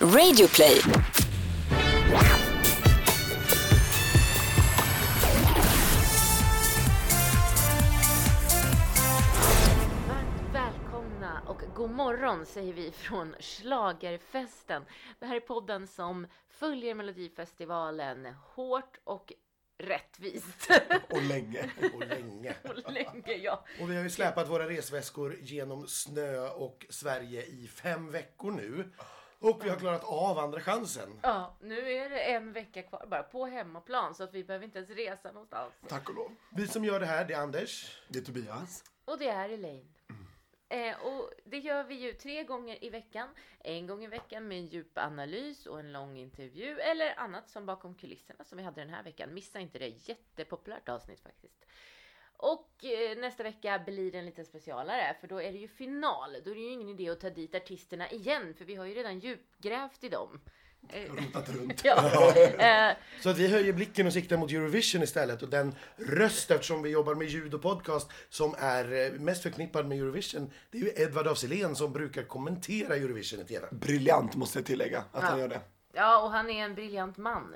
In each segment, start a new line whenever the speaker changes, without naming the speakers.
Radioplay.
Varmt välkomna och god morgon säger vi från Schlagerfesten. Det här är podden som följer Melodifestivalen hårt och rättvist.
Och länge. Och länge.
Och länge, ja.
Och vi har ju släpat våra resväskor genom snö och Sverige i fem veckor nu.
Ah.
Och vi har klarat av andra chansen.
ja, nu är det en vecka kvar bara på hemmaplan så att vi behöver inte ens resa någonstans.
Tack och lov. Vi som gör det här, det är Anders.
Det är Tobias.
Och det är Elaine. Eh, och det gör vi ju tre gånger i veckan. En gång i veckan med en djup analys och en lång intervju eller annat som bakom kulisserna som vi hade den här veckan. Missa inte det, jättepopulärt avsnitt faktiskt. Och eh, nästa vecka blir det en liten specialare för då är det ju final. Då är det ju ingen idé att ta dit artisterna igen för vi har ju redan djupgrävt i dem. Eh,
Rotat runt.
ja. eh,
Så att vi höjer blicken och siktar mot Eurovision istället. Och den röst, eftersom vi jobbar med ljud och podcast, som är eh, mest förknippad med Eurovision, det är ju Edvard af Sillén som brukar kommentera Eurovision i TV.
Briljant måste jag tillägga att han gör det.
Ja, och han är en briljant man.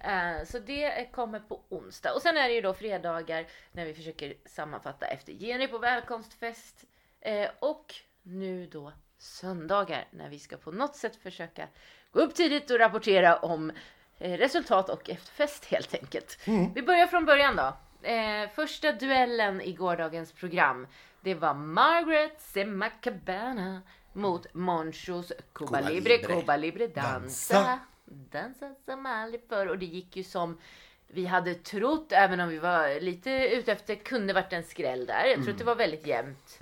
Eh, Så det kommer på onsdag. Och sen är det ju då fredagar när vi försöker sammanfatta efter Jenny på välkomstfest. Eh, Och nu då söndagar när vi ska på något sätt försöka gå upp tidigt och rapportera om eh, resultat och efterfest helt enkelt. Vi börjar från början då. Eh, första duellen i gårdagens program, det var Margaret Semacabana mot Monchos Cuba Libre,
Libre.
Cuba Libre dansa.
Dansa.
Dansa som aldrig förr. Och det gick ju som vi hade trott, även om vi var lite ute efter, kunde varit en skräll där. Jag tror
Mm.
att det var väldigt jämnt.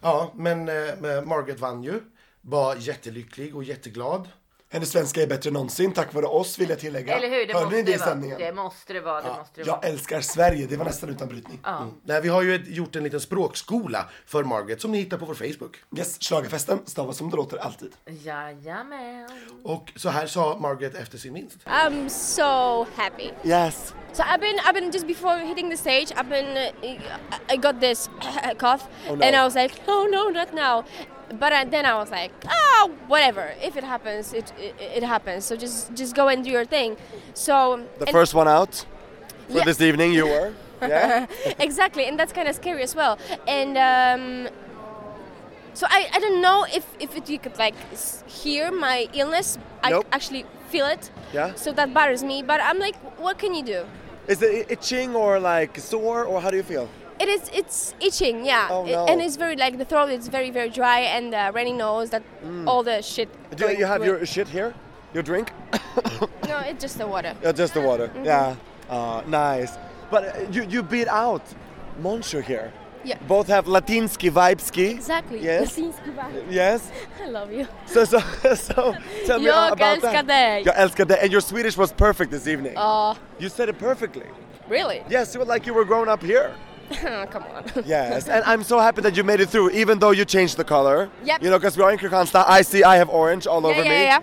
Ja, men eh, Margaret vann ju. Var jättelycklig och jätteglad.
Hennes svenska är bättre än någonsin tack vare oss vill jag tillägga.
Eller hur? Det
Hörde
måste
ni det i
det vara.
sändningen? eh,
Det måste det vara. Det måste det vara.
Jag älskar Sverige, det var nästan utan brytning.
Ja.
Nej, vi har ju ett, gjort en liten språkskola för Margaret som ni hittar på vår Facebook.
Yes, schlagerfesten stavas som det låter alltid.
Jajamän.
Och så här sa Margaret efter sin vinst.
I'm so happy.
Yes.
So I've been, I've been just before hitting the stage, I've been, uh, I got this cough,
Oh, no.
and I was like, no, no, not now. But I, then I was like, oh, whatever. If it happens, it, it it happens. So just just go and do your thing. So
The
and-
first one out for
Yeah.
this evening you were. Yeah.
exactly, and that's kind of scary as well. And um, so I, I don't know if, if it, you could like s- hear my illness.
Nope.
I actually feel it.
Yeah.
So that bothers me. But I'm like, what can you do?
Is it itching or like sore or how do you feel?
It is. It's itching. Yeah.
Oh,
It-
no.
and it's very like the throat is very very dry and the runny nose. That all the shit.
Mm. Do
going
you have
through
your
it.
shit here? Your drink?
No, it's just the water.
Yeah, just the water.
Mm-hmm.
Yeah. Uh, nice. But uh, you, you beat out Moncho here.
Yeah.
Both have Latinski vibeski.
Exactly.
Yes. Yes.
I love you.
So, so, so tell me
Jag
about
älskar
that.
dig.
Jag älskar dig. And your Swedish was perfect this evening.
Oh,
you said it perfectly.
really?
Yes, you were like you were grown up here.
Come on.
Yes, and I'm so happy that you made it through, even though you changed the color.
Yep.
You know, because we are in Kristianstad. I see I have orange all over
yeah,
me.
yeah, yeah.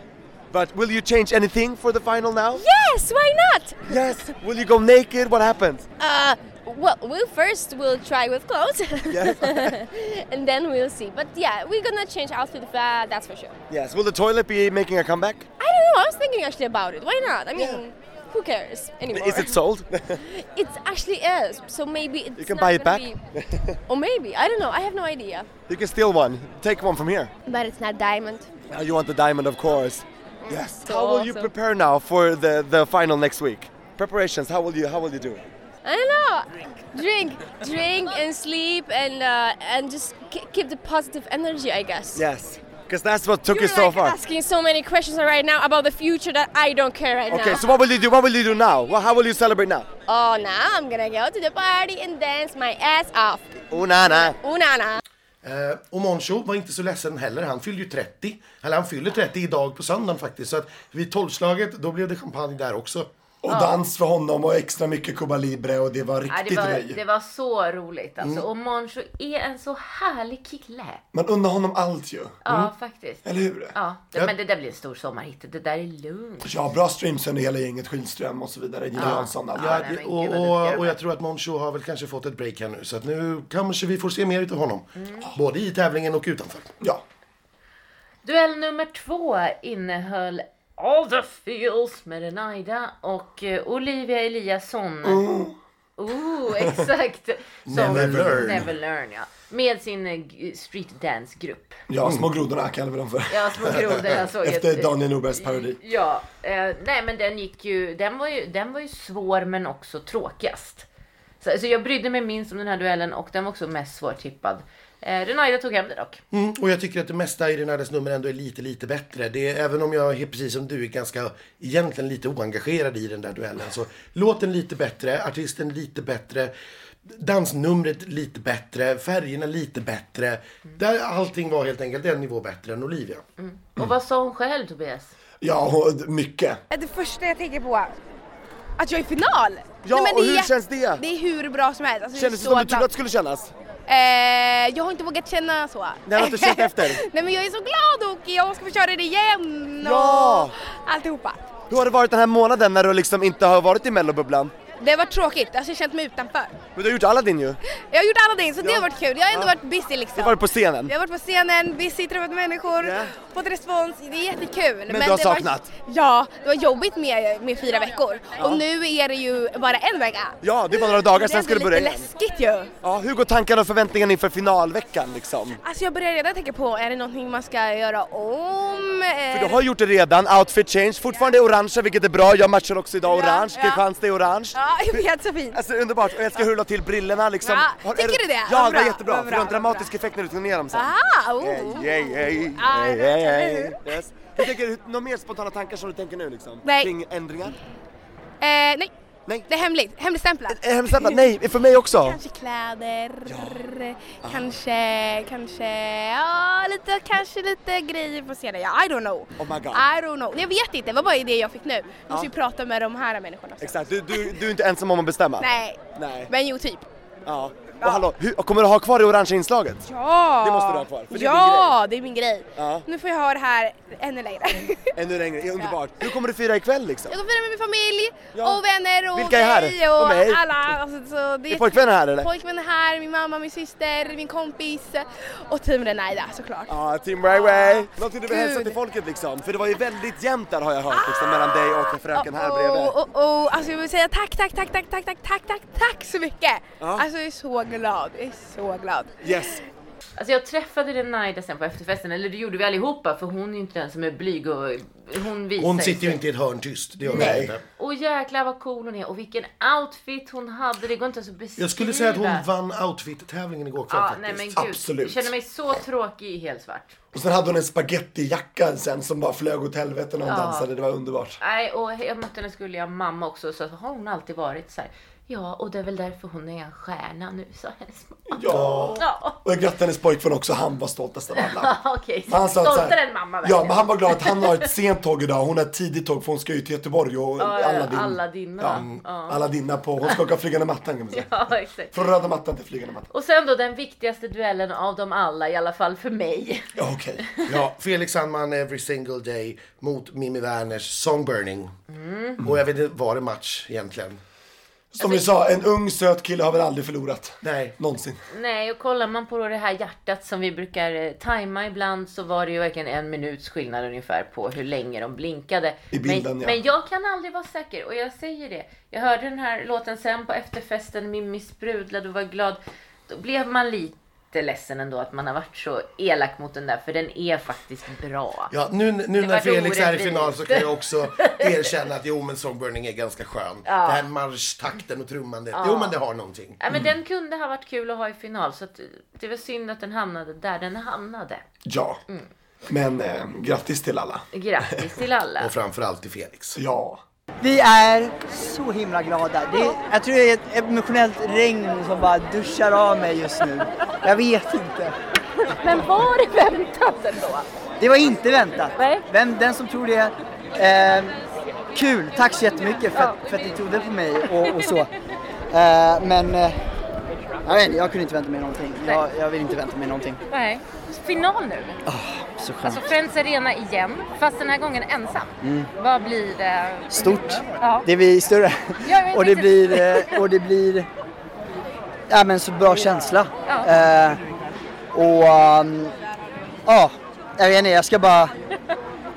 But will you change anything for the final now?
Yes. Why not?
Yes. Will you go naked? What happens?
Uh, well, we'll first we'll try with clothes,
Yes.
and then we'll see. But yeah, we're gonna change outfit. Uh, that's for sure.
Yes. Will the toilet be making a comeback?
I don't know. I was thinking actually about it. Why not? I mean, who cares anymore?
Is it sold?
It actually is. So maybe it's
you can
not
buy it
gonna
back.
Be, or maybe I don't know. I have no idea.
you can steal one. Take one from here.
But it's not diamond.
Now Uh, you want the diamond, of course. Yes. How will you
awesome.
prepare now for the, the final next week? Preparations. How will you How will you do? it?
I don't know. Drink, drink, and sleep, and uh, and just k- keep the positive energy, I guess.
Yes. Because that's what took
You're
you so
like
far.
asking so many questions right now about the future that I don't care right
Okay.
now.
So what will you do? What will you do now? Well, how will you celebrate now?
Oh, now I'm gonna go to the party and dance my ass off.
Oh, na na.
Unana.
Eh, och Moncho var inte så ledsen heller. Han fyllde ju 30. Eller han fyller 30 idag på söndagen faktiskt. Så att vid tolvslaget, då blev det champagne där också.
Och dans för honom och extra mycket Cuba Libre och det var
Ja, det, var, det var så roligt alltså.
Mm.
Och Moncho är en så härlig kille.
Man unnar honom allt ju.
Ja, faktiskt.
Mm. Eller hur?
Ja, det,
Ja.
men det där blir en stor sommarhit. Det där är lugnt.
Ja, bra streams under hela gänget Skilström och så vidare. Gina Jansson. allt.
Ja,
nej, men gud, vad
och,
duktig de
och, och
är.
jag tror att Moncho har väl kanske fått ett break här nu. Så att nu kanske vi får se mer utav honom. Både i tävlingen och utanför.
ja.
Duell nummer två innehöll All the feels med Renaida och eh, Olivia Eliasson. Ooh, exakt. Som
Oh. Never learn.
Never learn, ja. Med sin eh, g- street dance-grupp.
Mm.
Ja, små grodorna kallar vi dem för.
Ja, små grodorna såg jag
Efter
ett-
Daniel Norbergs parodi.
Ja, eh, nej men den gick ju, den var ju, den var ju svår men också tråkigast. Så, så jag brydde mig minst om den här duellen och den var också mest svårtippad. Eh, Renaida tog hem det dock.
Mm, och jag tycker att det mesta i Renardes nummer ändå är lite, lite bättre. Det är, även om jag är precis som du är ganska, egentligen lite oengagerad i den där duellen. Så låten lite bättre, artisten lite bättre, dansnumret lite bättre, färgerna lite bättre. Där allting var helt enkelt en nivå bättre än Olivia.
Och vad sa hon själv Tobias?
Ja, och mycket.
Det första jag tänker på, att jag är i final!
Ja,
Nej, men
och
det är
hur
jätte-
känns det?
Det är hur bra som helst. Alltså,
Kändes det
det är
som du
så
trodde att det skulle kännas?
bra. eh, jag har inte vågat känna så.
Nej, har du känt efter?
Nej men jag är så glad och jag ska få köra det igen och
Ja!
alltihopa.
Hur har det varit den här månaden när du liksom inte har varit i mellobubblan?
Det har varit tråkigt, alltså, jag har känt mig utanför.
Men du har gjort Aladdin ju.
Jag har gjort alla det, så det har varit kul. Jag har ändå varit busy liksom.
Du har varit på scenen.
Jag har varit på scenen, busy, träffat människor,
Ja.
fått respons. Det är jättekul. Men,
du har
det var-
saknat?
ja, det var jobbigt med, med fyra veckor. Och nu är det ju bara en vecka.
Ja, det är bara några dagar,
Det är
sen ska du
ändå
börja
lite
igen.
läskigt ju.
Ja, hur går tankarna och förväntningarna inför finalveckan liksom?
Alltså jag börjar redan tänka på, är det någonting man ska göra om?
För du har gjort det redan, outfit change, fortfarande orangea vilket är bra, jag matchar också idag
Ja,
orange,
ja.
Kristianstad är orange.
Ja, jag vet så fint.
Alltså underbart, och jag ska hurla till brillorna liksom.
Ja,
Har- är
tycker du det?
Ja,
Vad
det var
bra,
jättebra,
vad
för
bra,
det har en
vad
dramatisk effekt när du tog ner dem sen.
Ah, oh.
Hey, hey, hey,
Ah,
hey,
eller
hey, hey.
hur?
Yes. Hur tänker du, några mer spontana tankar som du tänker nu liksom?
Nej.
Kring ändringar?
Eh, nej,
Nej.
det är hemligt. Hemligstämplat.
Eh, Hemstämplat, nej, för mig också.
Kanske kläder, kanske, kanske, ja lite, kanske lite grejer på scenen. Ja, I don't know.
Oh my god.
I don't know. Nej, jag vet inte, det var bara det jag fick nu. Jag måste ju prata med de här människorna. också.
Exakt, du, du, du är inte ensam om att bestämma.
Nej,
Nej.
men jo typ.
Ja. Och hallå, hur, kommer du ha kvar det orangea inslaget?
Ja!
Det måste du ha kvar, för det är
ja, det är min grej.
Ja. Mm.
Nu får jag ha det här ännu längre.
Ännu längre, ja, underbart. Hur kommer du fira ikväll liksom?
jag kommer fira med min familj
Ja.
och vänner och
Vilka är här?
dig och
Och mig.
alla. Alltså, så det
Är pojkvännen här eller?
Pojkvän är här, min mamma, min syster, min kompis och team Renaida såklart.
Ja, Team Railway! Någonting du vill
Gud.
hälsa till folket liksom? För det var ju väldigt jämnt där har jag hört liksom, mellan dig och fröken
Ah.
här bredvid.
Oh, oh, oh. Alltså jag vill säga tack, tack, tack, tack, tack, tack, tack, tack, tack så mycket!
Ja.
Alltså jag är så glad, jag är så glad.
oh.
Yes!
Alltså jag träffade Renaida sen på efterfesten, eller det gjorde vi allihopa för hon är ju inte den som är blyg och hon visar
Hon sitter ju
sig.
inte i ett hörn tyst, det gör hon
Nej.
inte.
Och jäklar vad cool hon är och vilken outfit hon hade, det går inte ens att beskriva.
Jag skulle säga att hon vann outfit-tävlingen igår kväll
Ja, nej
faktiskt.
men gud.
Absolut.
Jag känner mig så tråkig i helsvart.
Och sen hade hon en spagettijacka sen som bara flög åt helvete när hon
Ja.
dansade. Det var underbart.
Nej, och jag mötte henne skulle jag mamma också, så har hon alltid varit så här. Ja, och det är väl därför hon är en stjärna nu, sa hennes mamma.
Ja.
Ja,
Och jag grattade hennes pojkvän också, han var stoltast av alla.
okej.
Men han sa att så här-
Stoltare än mamma
Ja,
verkligen.
men han var glad att han har ett sent tåg idag. Hon har ett tidigt tåg för hon ska ju till Göteborg och
ja,
Aladdin.
Aladdin, va?
ja.
Ja.
Aladdinna på, hon ska åka flygande mattan kan man säga.
Ja, exakt.
Från röda mattan till flygande mattan.
Och sen då den viktigaste duellen av dem alla, i alla fall för mig.
Ja, okej.
Ja, Felix Sandman Every Single Day mot Mimi Werners Song Burning. Och jag vet inte, var det match egentligen?
Alltså,
Som vi sa, en ung söt kille har väl aldrig förlorat.
Nej.
Någonsin.
Nej, och kollar man på då det här hjärtat som vi brukar eh, tajma ibland så var det ju verkligen en minuts skillnad ungefär på hur länge de blinkade.
I bilden,
men,
ja.
men jag kan aldrig vara säker och jag säger det. Jag hörde den här låten sen på efterfesten, Mimmi sprudlade och var glad. Då blev man lite ledsen ändå att man har varit så elak mot den där för den är faktiskt bra.
Ja, nu, nu när
vart
Felix är i
orättvist.
final så kan jag också erkänna att jo men Song Burning är ganska skön. Den här marschtakten och trummandet. Jo men det har någonting.
Ja, men den kunde ha varit kul att ha i final så att eh, det var synd att den hamnade där den hamnade.
Ja.
Mm.
Men eh, grattis till alla.
Grattis till alla.
Och framförallt till Felix.
Ja.
Vi är så himla glada. Det är, jag tror det är ett emotionellt regn som bara duschar av mig just nu. Jag vet inte.
Men var det väntat ändå?
Det var inte väntat.
Nej.
Vem, den som tror det, eh, kul. Tack så jättemycket för, att- för att ni trodde på mig och, och så. Eh, men eh, jag, vet, inte, jag kunde inte vänta mig någonting. Jag, jag vill inte vänta mig någonting.
Nej. Final nu.
Så skönt.
Alltså Friends Arena igen, fast den här gången ensam. Vad blir det?
Stort.
Ja.
Det blir större.
Ja, men
och, det
precis.
blir, eh, och det blir... Ja men så bra känsla.
Ja.
Eh, och... um, Ja. Jag vet inte, jag ska bara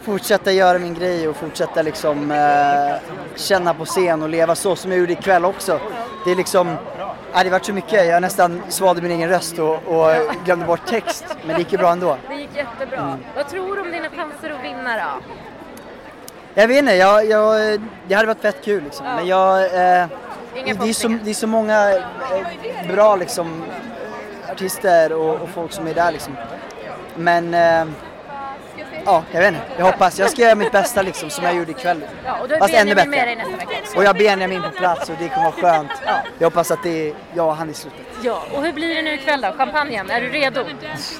fortsätta göra min grej och fortsätta liksom eh, känna på scen och leva så som jag gjorde ikväll också. Det är liksom, äh, det vart så mycket, jag nästan svalde min egen röst och, och glömde bort text. Men det gick ju bra ändå.
Det gick jättebra.
Mm.
Vad tror du om dina chanser att vinna då?
Jag vet inte, jag, jag, det hade varit fett kul liksom. Men jag... Eh, det, är så,
förhoppningar.
det är så många eh, bra liksom, artister och, och folk som är där liksom. Men... Eh, ja, jag vet inte. Jag hoppas. Jag ska göra mitt bästa liksom, som jag gjorde ikväll.
Ja, och då är
Fast ännu
Benjamin
bättre.
med dig nästa vecka.
Och jag har Benjamin på plats och det kommer vara skönt. Jag hoppas att det är jag och han i slutet.
Ja, och hur blir det nu ikväll då? Champagnen, är du redo?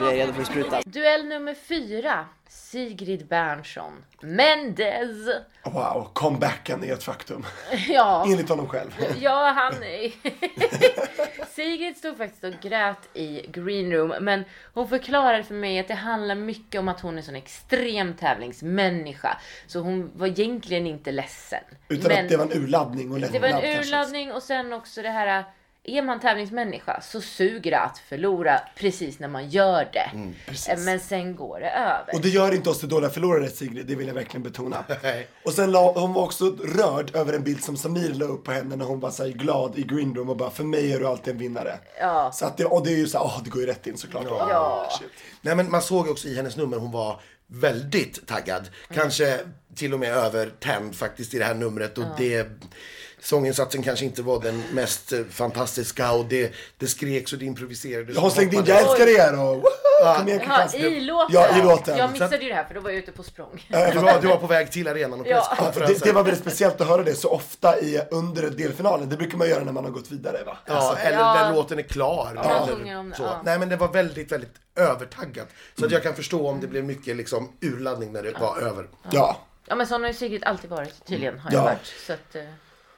Jag är redo för att spruta.
Duell nummer fyra. Sigrid Bernson. Mendez.
Wow, comebacken är ett faktum.
Ja.
Enligt honom själv.
Ja, han... Sigrid stod faktiskt och grät i green room, men hon förklarade för mig att det handlar mycket om att hon är en sån extrem tävlingsmänniska. Så hon var egentligen inte ledsen.
Utan
men
att det var en urladdning och
det var
lättnad
en
kanske.
urladdning och sen också det här... äh, Är man tävlingsmänniska så suger det att förlora precis när man gör det.
Mm,
Äh, men sen går det över.
Och det gör inte oss till dåliga förlorare Sigrid, det vill jag verkligen betona. och sen la, hon var också rörd över en bild som Samir la upp på henne när hon var så här glad i green room och bara, för mig är du alltid en vinnare.
Ja.
Så att det, och det är ju så här, åh det går ju rätt in såklart.
Ja.
Shit.
Nej men man såg också i hennes nummer hon var väldigt taggad. Kanske till och med övertänd faktiskt i det här numret och det Sånginsatsen kanske inte var den mest eh, fantastiska och det, det skreks och det improviserades.
Hon slängde in,
Hoppades.
jag älskar er och woho, kom igen
Jaha,
Kristianstad.
i låten?
Ja, i låten.
Jag
Så att-
missade ju det här för då var jag ute på språng.
Du var, du var på väg till arenan och
Ja.
presskonferensen.
Det, det var väldigt speciellt att höra det så ofta i, under delfinalen. Det brukar man göra när man har gått vidare va? Alltså,
Ja, eller
Alltså, Ja.
när låten är klar.
Ja. sjunger om
Eller
det,
så.
ja.
Nej men det var väldigt, väldigt övertaggat. Så att jag kan förstå om det blev mycket liksom urladdning när det var över.
Ja.
Ja men sån har ju Sigrid alltid varit tydligen har
Ja.
jag varit. Så att, eh,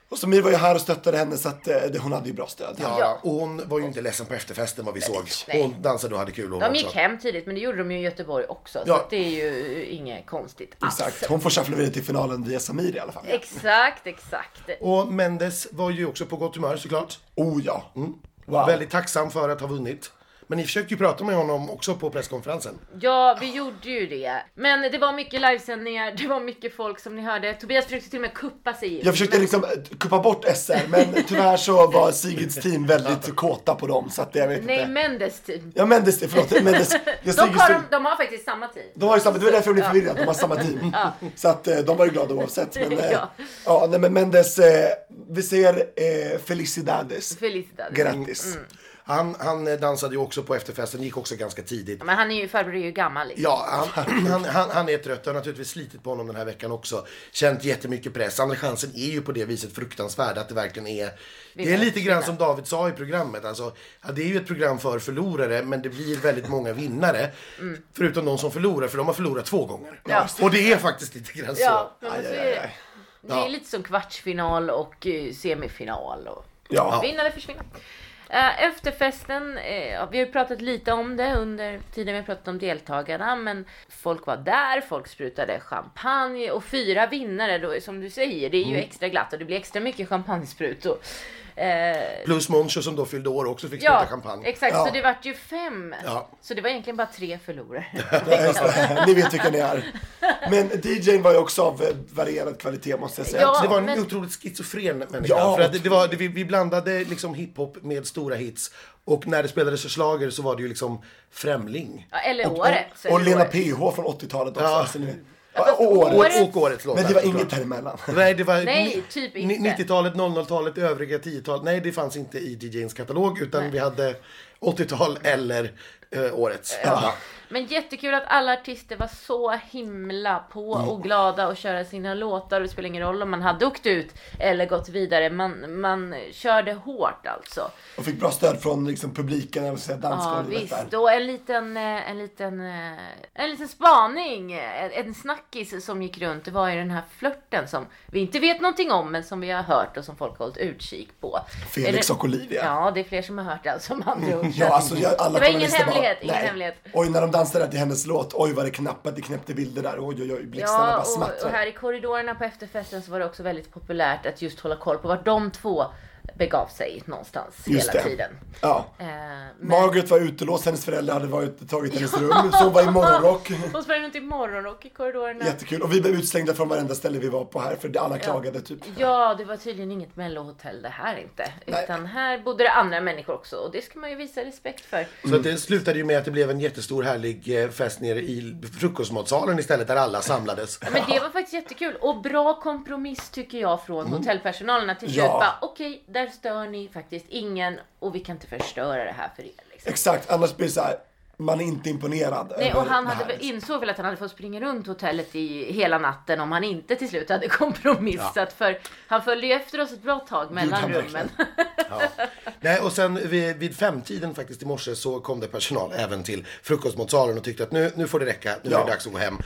Och Samir var ju här och stöttade henne så att eh, det, hon hade ju bra stöd.
Ja, och hon var ju inte ledsen på efterfesten vad vi såg.
nej.
Hon dansade och hade kul hon
de gick
också.
hem tidigt men det gjorde de ju i Göteborg också. Så
Ja.
att det är ju äh, inget konstigt alls.
Exakt. Hon får shuffla vidare till finalen via Samir i alla fall.
Exakt, exakt.
Och Mendes var ju också på gott humör såklart.
Oh ja.
Mm.
Wow.
Väldigt tacksam för att ha vunnit. Men ni försökte ju prata med honom också på presskonferensen.
Ja, vi gjorde ju det. Men det var mycket livesändningar, det var mycket folk som ni hörde. Tobias försökte till och med kuppa sig in.
Jag försökte liksom eh, kuppa bort SR men tyvärr så var Sigrids team väldigt kåta på dem så att jag vet
Nej,
inte.
Mendes team.
Ja Mendes, det- förlåt. Mendes, det är
De
Sigrids
har, de,
team.
de har faktiskt samma team.
De har ju samma, det var därför jag blev förvirrad, de har samma team. Så att eh, de var ju glada oavsett. Men, eh,
Ja.
ja, nej men Mendes, eh, vi säger eh, Felicidades.
Felicitades.
Grattis.
Mm.
Han, han eh, dansade ju också på efterfesten, gick också ganska tidigt.
Men han är ju, farbror är ju gammal liksom.
Ja, han, han, han, han är trött. Det har naturligtvis slitit på honom den här veckan också. Känt jättemycket press. Andra chansen är ju på det viset fruktansvärd. Att det verkligen är... Det är lite grann som David sa i programmet. Alltså, ja, det är ju ett program för förlorare, men det blir väldigt många vinnare.
Mm.
Förutom de som förlorar, för de har förlorat två gånger. Och det är faktiskt lite grann så.
Ja, men så
aj,
är det.
aj.
Det är lite som kvartsfinal och eh, semifinal och
Ja.
vinna eller försvinna. Eh, Efterfesten, eh, ja, vi har ju pratat lite om det under tiden vi har pratat om deltagarna, men folk var där, folk sprutade champagne och fyra vinnare då, som du säger, det är ju extra glatt och det blir extra mycket champagnesprutor. Eh,
Plus Moncho som då fyllde år också fick spruta
ja,
champagne.
exakt,
Ja.
så det vart ju fem.
Ja.
Så det var egentligen bara tre förlorare.
Ja, just det. Ni vet vilka ni är. Men DJn var ju också av eh, varierad kvalitet måste jag säga.
Ja.
det var en
men-
otroligt schizofren människa.
Ja,
för att det, det var, det, vi, vi blandade liksom hiphop med stora hits. Och när det spelades slager så var det ju liksom Främling.
Ja, eller
Och,
året. så är
och, och
det
Lena
året.
PH från 80-talet också.
Ja.
Alltså, ni, ja, och året.
Och,
Årets-
och årets låtar.
Men det var
såklart.
inget däremellan.
Nej, det var
Nej,
ni-
typ
ni-
inte.
90-talet, 00-talet, övriga 10-talet. Nej, det fanns inte i DJs katalog utan vi hade 80-tal eller eh, årets. Ja.
Men jättekul att alla artister var så himla på och glada och köra sina låtar. Det spelar ingen roll om man hade åkt ut eller gått vidare. Man, man körde hårt alltså.
Och fick bra stöd från liksom, publiken, jag vill säga
Ja,
dansgolvet där.
visst. Och en liten, eh, en liten, eh, en liten spaning. En en snackis som gick runt. Det var ju den här flörten som vi inte vet någonting om men som vi har hört och som folk har hållit utkik på.
Felix
Är det-
och Olivia.
Ja, det är fler som har hört den som andra ord.
Ja, alltså, jag, alla
Det var ingen
journalister bara,
hemlighet, ingen
nej.
hemlighet.
Oj, när de dansade till hennes låt, oj vad det knappade, det knäppte bilder där. Oj, oj, oj, blixtarna
Ja,
bara
och, och
smattrade.
här i korridorerna på efterfesten så var det också väldigt populärt att just hålla koll på vart de två begav sig någonstans
Just
hela
det.
tiden.
Ja.
Eh, men-
Margaret var utelåst, hennes föräldrar hade varit, tagit hennes rum, så hon var i morgonrock.
Hon sprang runt i morgonrock i korridorerna.
Jättekul. Och vi blev utslängda från varenda ställe vi var på här, för alla klagade typ.
Ja, det var tydligen inget mellohotell det här inte. Utan här bodde det andra människor också och det ska man ju visa respekt för.
Så att det slutade ju med att det blev en jättestor härlig eh, fest nere i frukostmatsalen istället där alla samlades.
Men det var faktiskt jättekul och bra kompromiss tycker jag från hotellpersonalen att till
Mm. Ja.
köpa. Okej, där stör ni faktiskt ingen och vi kan inte förstöra det här för er. Liksom.
Exakt, annars blir det så här, man är inte imponerad.
Nej,
över
och han
det
hade,
här,
väl-
liksom.
insåg väl att han hade fått springa runt hotellet i hela natten om han inte till slut hade kompromissat. För han följde ju efter oss ett bra tag mellan
kan
rummen.
Nej, och sen vid, vid femtiden faktiskt i morse så kom det personal även till frukostmatsalen och tyckte att nu, nu får det räcka, nu är
Ja.
det dags att gå hem.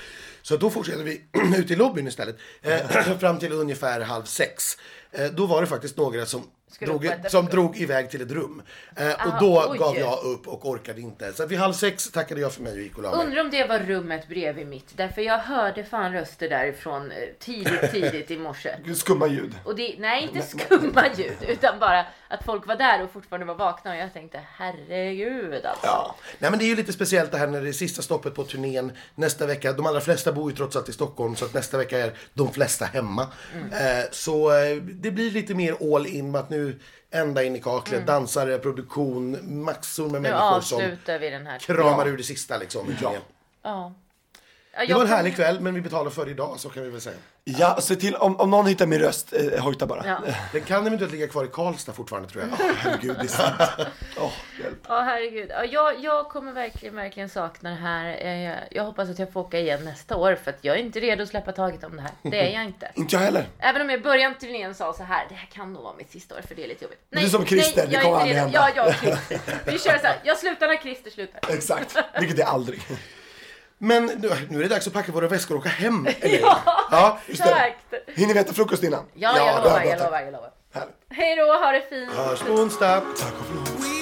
Så då fortsätter vi ute i lobbyn istället eh, fram till ungefär halv sex. Eh, då var det faktiskt några som
Skulle
drog,
upp och äta
som drog iväg till ett rum. Eh, och
Aha,
då
oj.
gav jag upp och orkade inte. Så att vid halv sex tackade jag för mig och gick och la mig.
Undrar om det var rummet bredvid mitt. Därför jag hörde fan röster därifrån eh, tidigt, tidigt i morse.
Skumma ljud.
Och det, nej, inte skumma ljud, utan bara att folk var där och fortfarande var vakna och jag tänkte herregud alltså.
Ja. Nej men det är ju lite speciellt det här när det är sista stoppet på turnén nästa vecka. De allra flesta bor ju trots allt i Stockholm så att nästa vecka är de flesta hemma.
Mm.
Eh, så eh, det blir lite mer all in med att nu ända in i kaklet, dansare, produktion, massor med
Mm. Nu
människor som
avslutar vi den här.
kramar ur det sista liksom. Ja.
Ja. Ja,
Det
jag
var en
kom-
härlig kväll men vi betalar för det idag så kan vi väl säga.
Ja, se till, om, om någon hittar min röst, eh, hojta bara.
Ja.
Den kan eventuellt ligga kvar i Karlstad fortfarande tror jag.
Herregud, det är sant. Åh, hjälp.
Ja, herregud. Ja, jag, jag kommer verkligen, verkligen sakna det här. Eh, Jag hoppas att jag får åka igen nästa år för att jag är inte redo att släppa taget om det här. Det är jag inte.
Inte jag heller.
Även om jag i början av turnén sa så här, det här kan nog vara mitt sista år för det är lite jobbigt.
är som Christer, det
jag är
kommer
inte
aldrig
redo.
hända.
Ja, jag och Christer. Vi kör så här, jag slutar när Christer slutar.
Exakt, vilket det är aldrig.
Men nu, nu är det dags att packa våra väskor och åka hem. Eller? ja, just det.
Exakt. Ja,
Hinner vi äta frukost innan?
jag
Ja,
lovar,
bra,
jag
tack.
lovar, jag lovar.
Härligt.
Hej då, ha det fint.
Hörs på onsdag.
Tack och förlåt.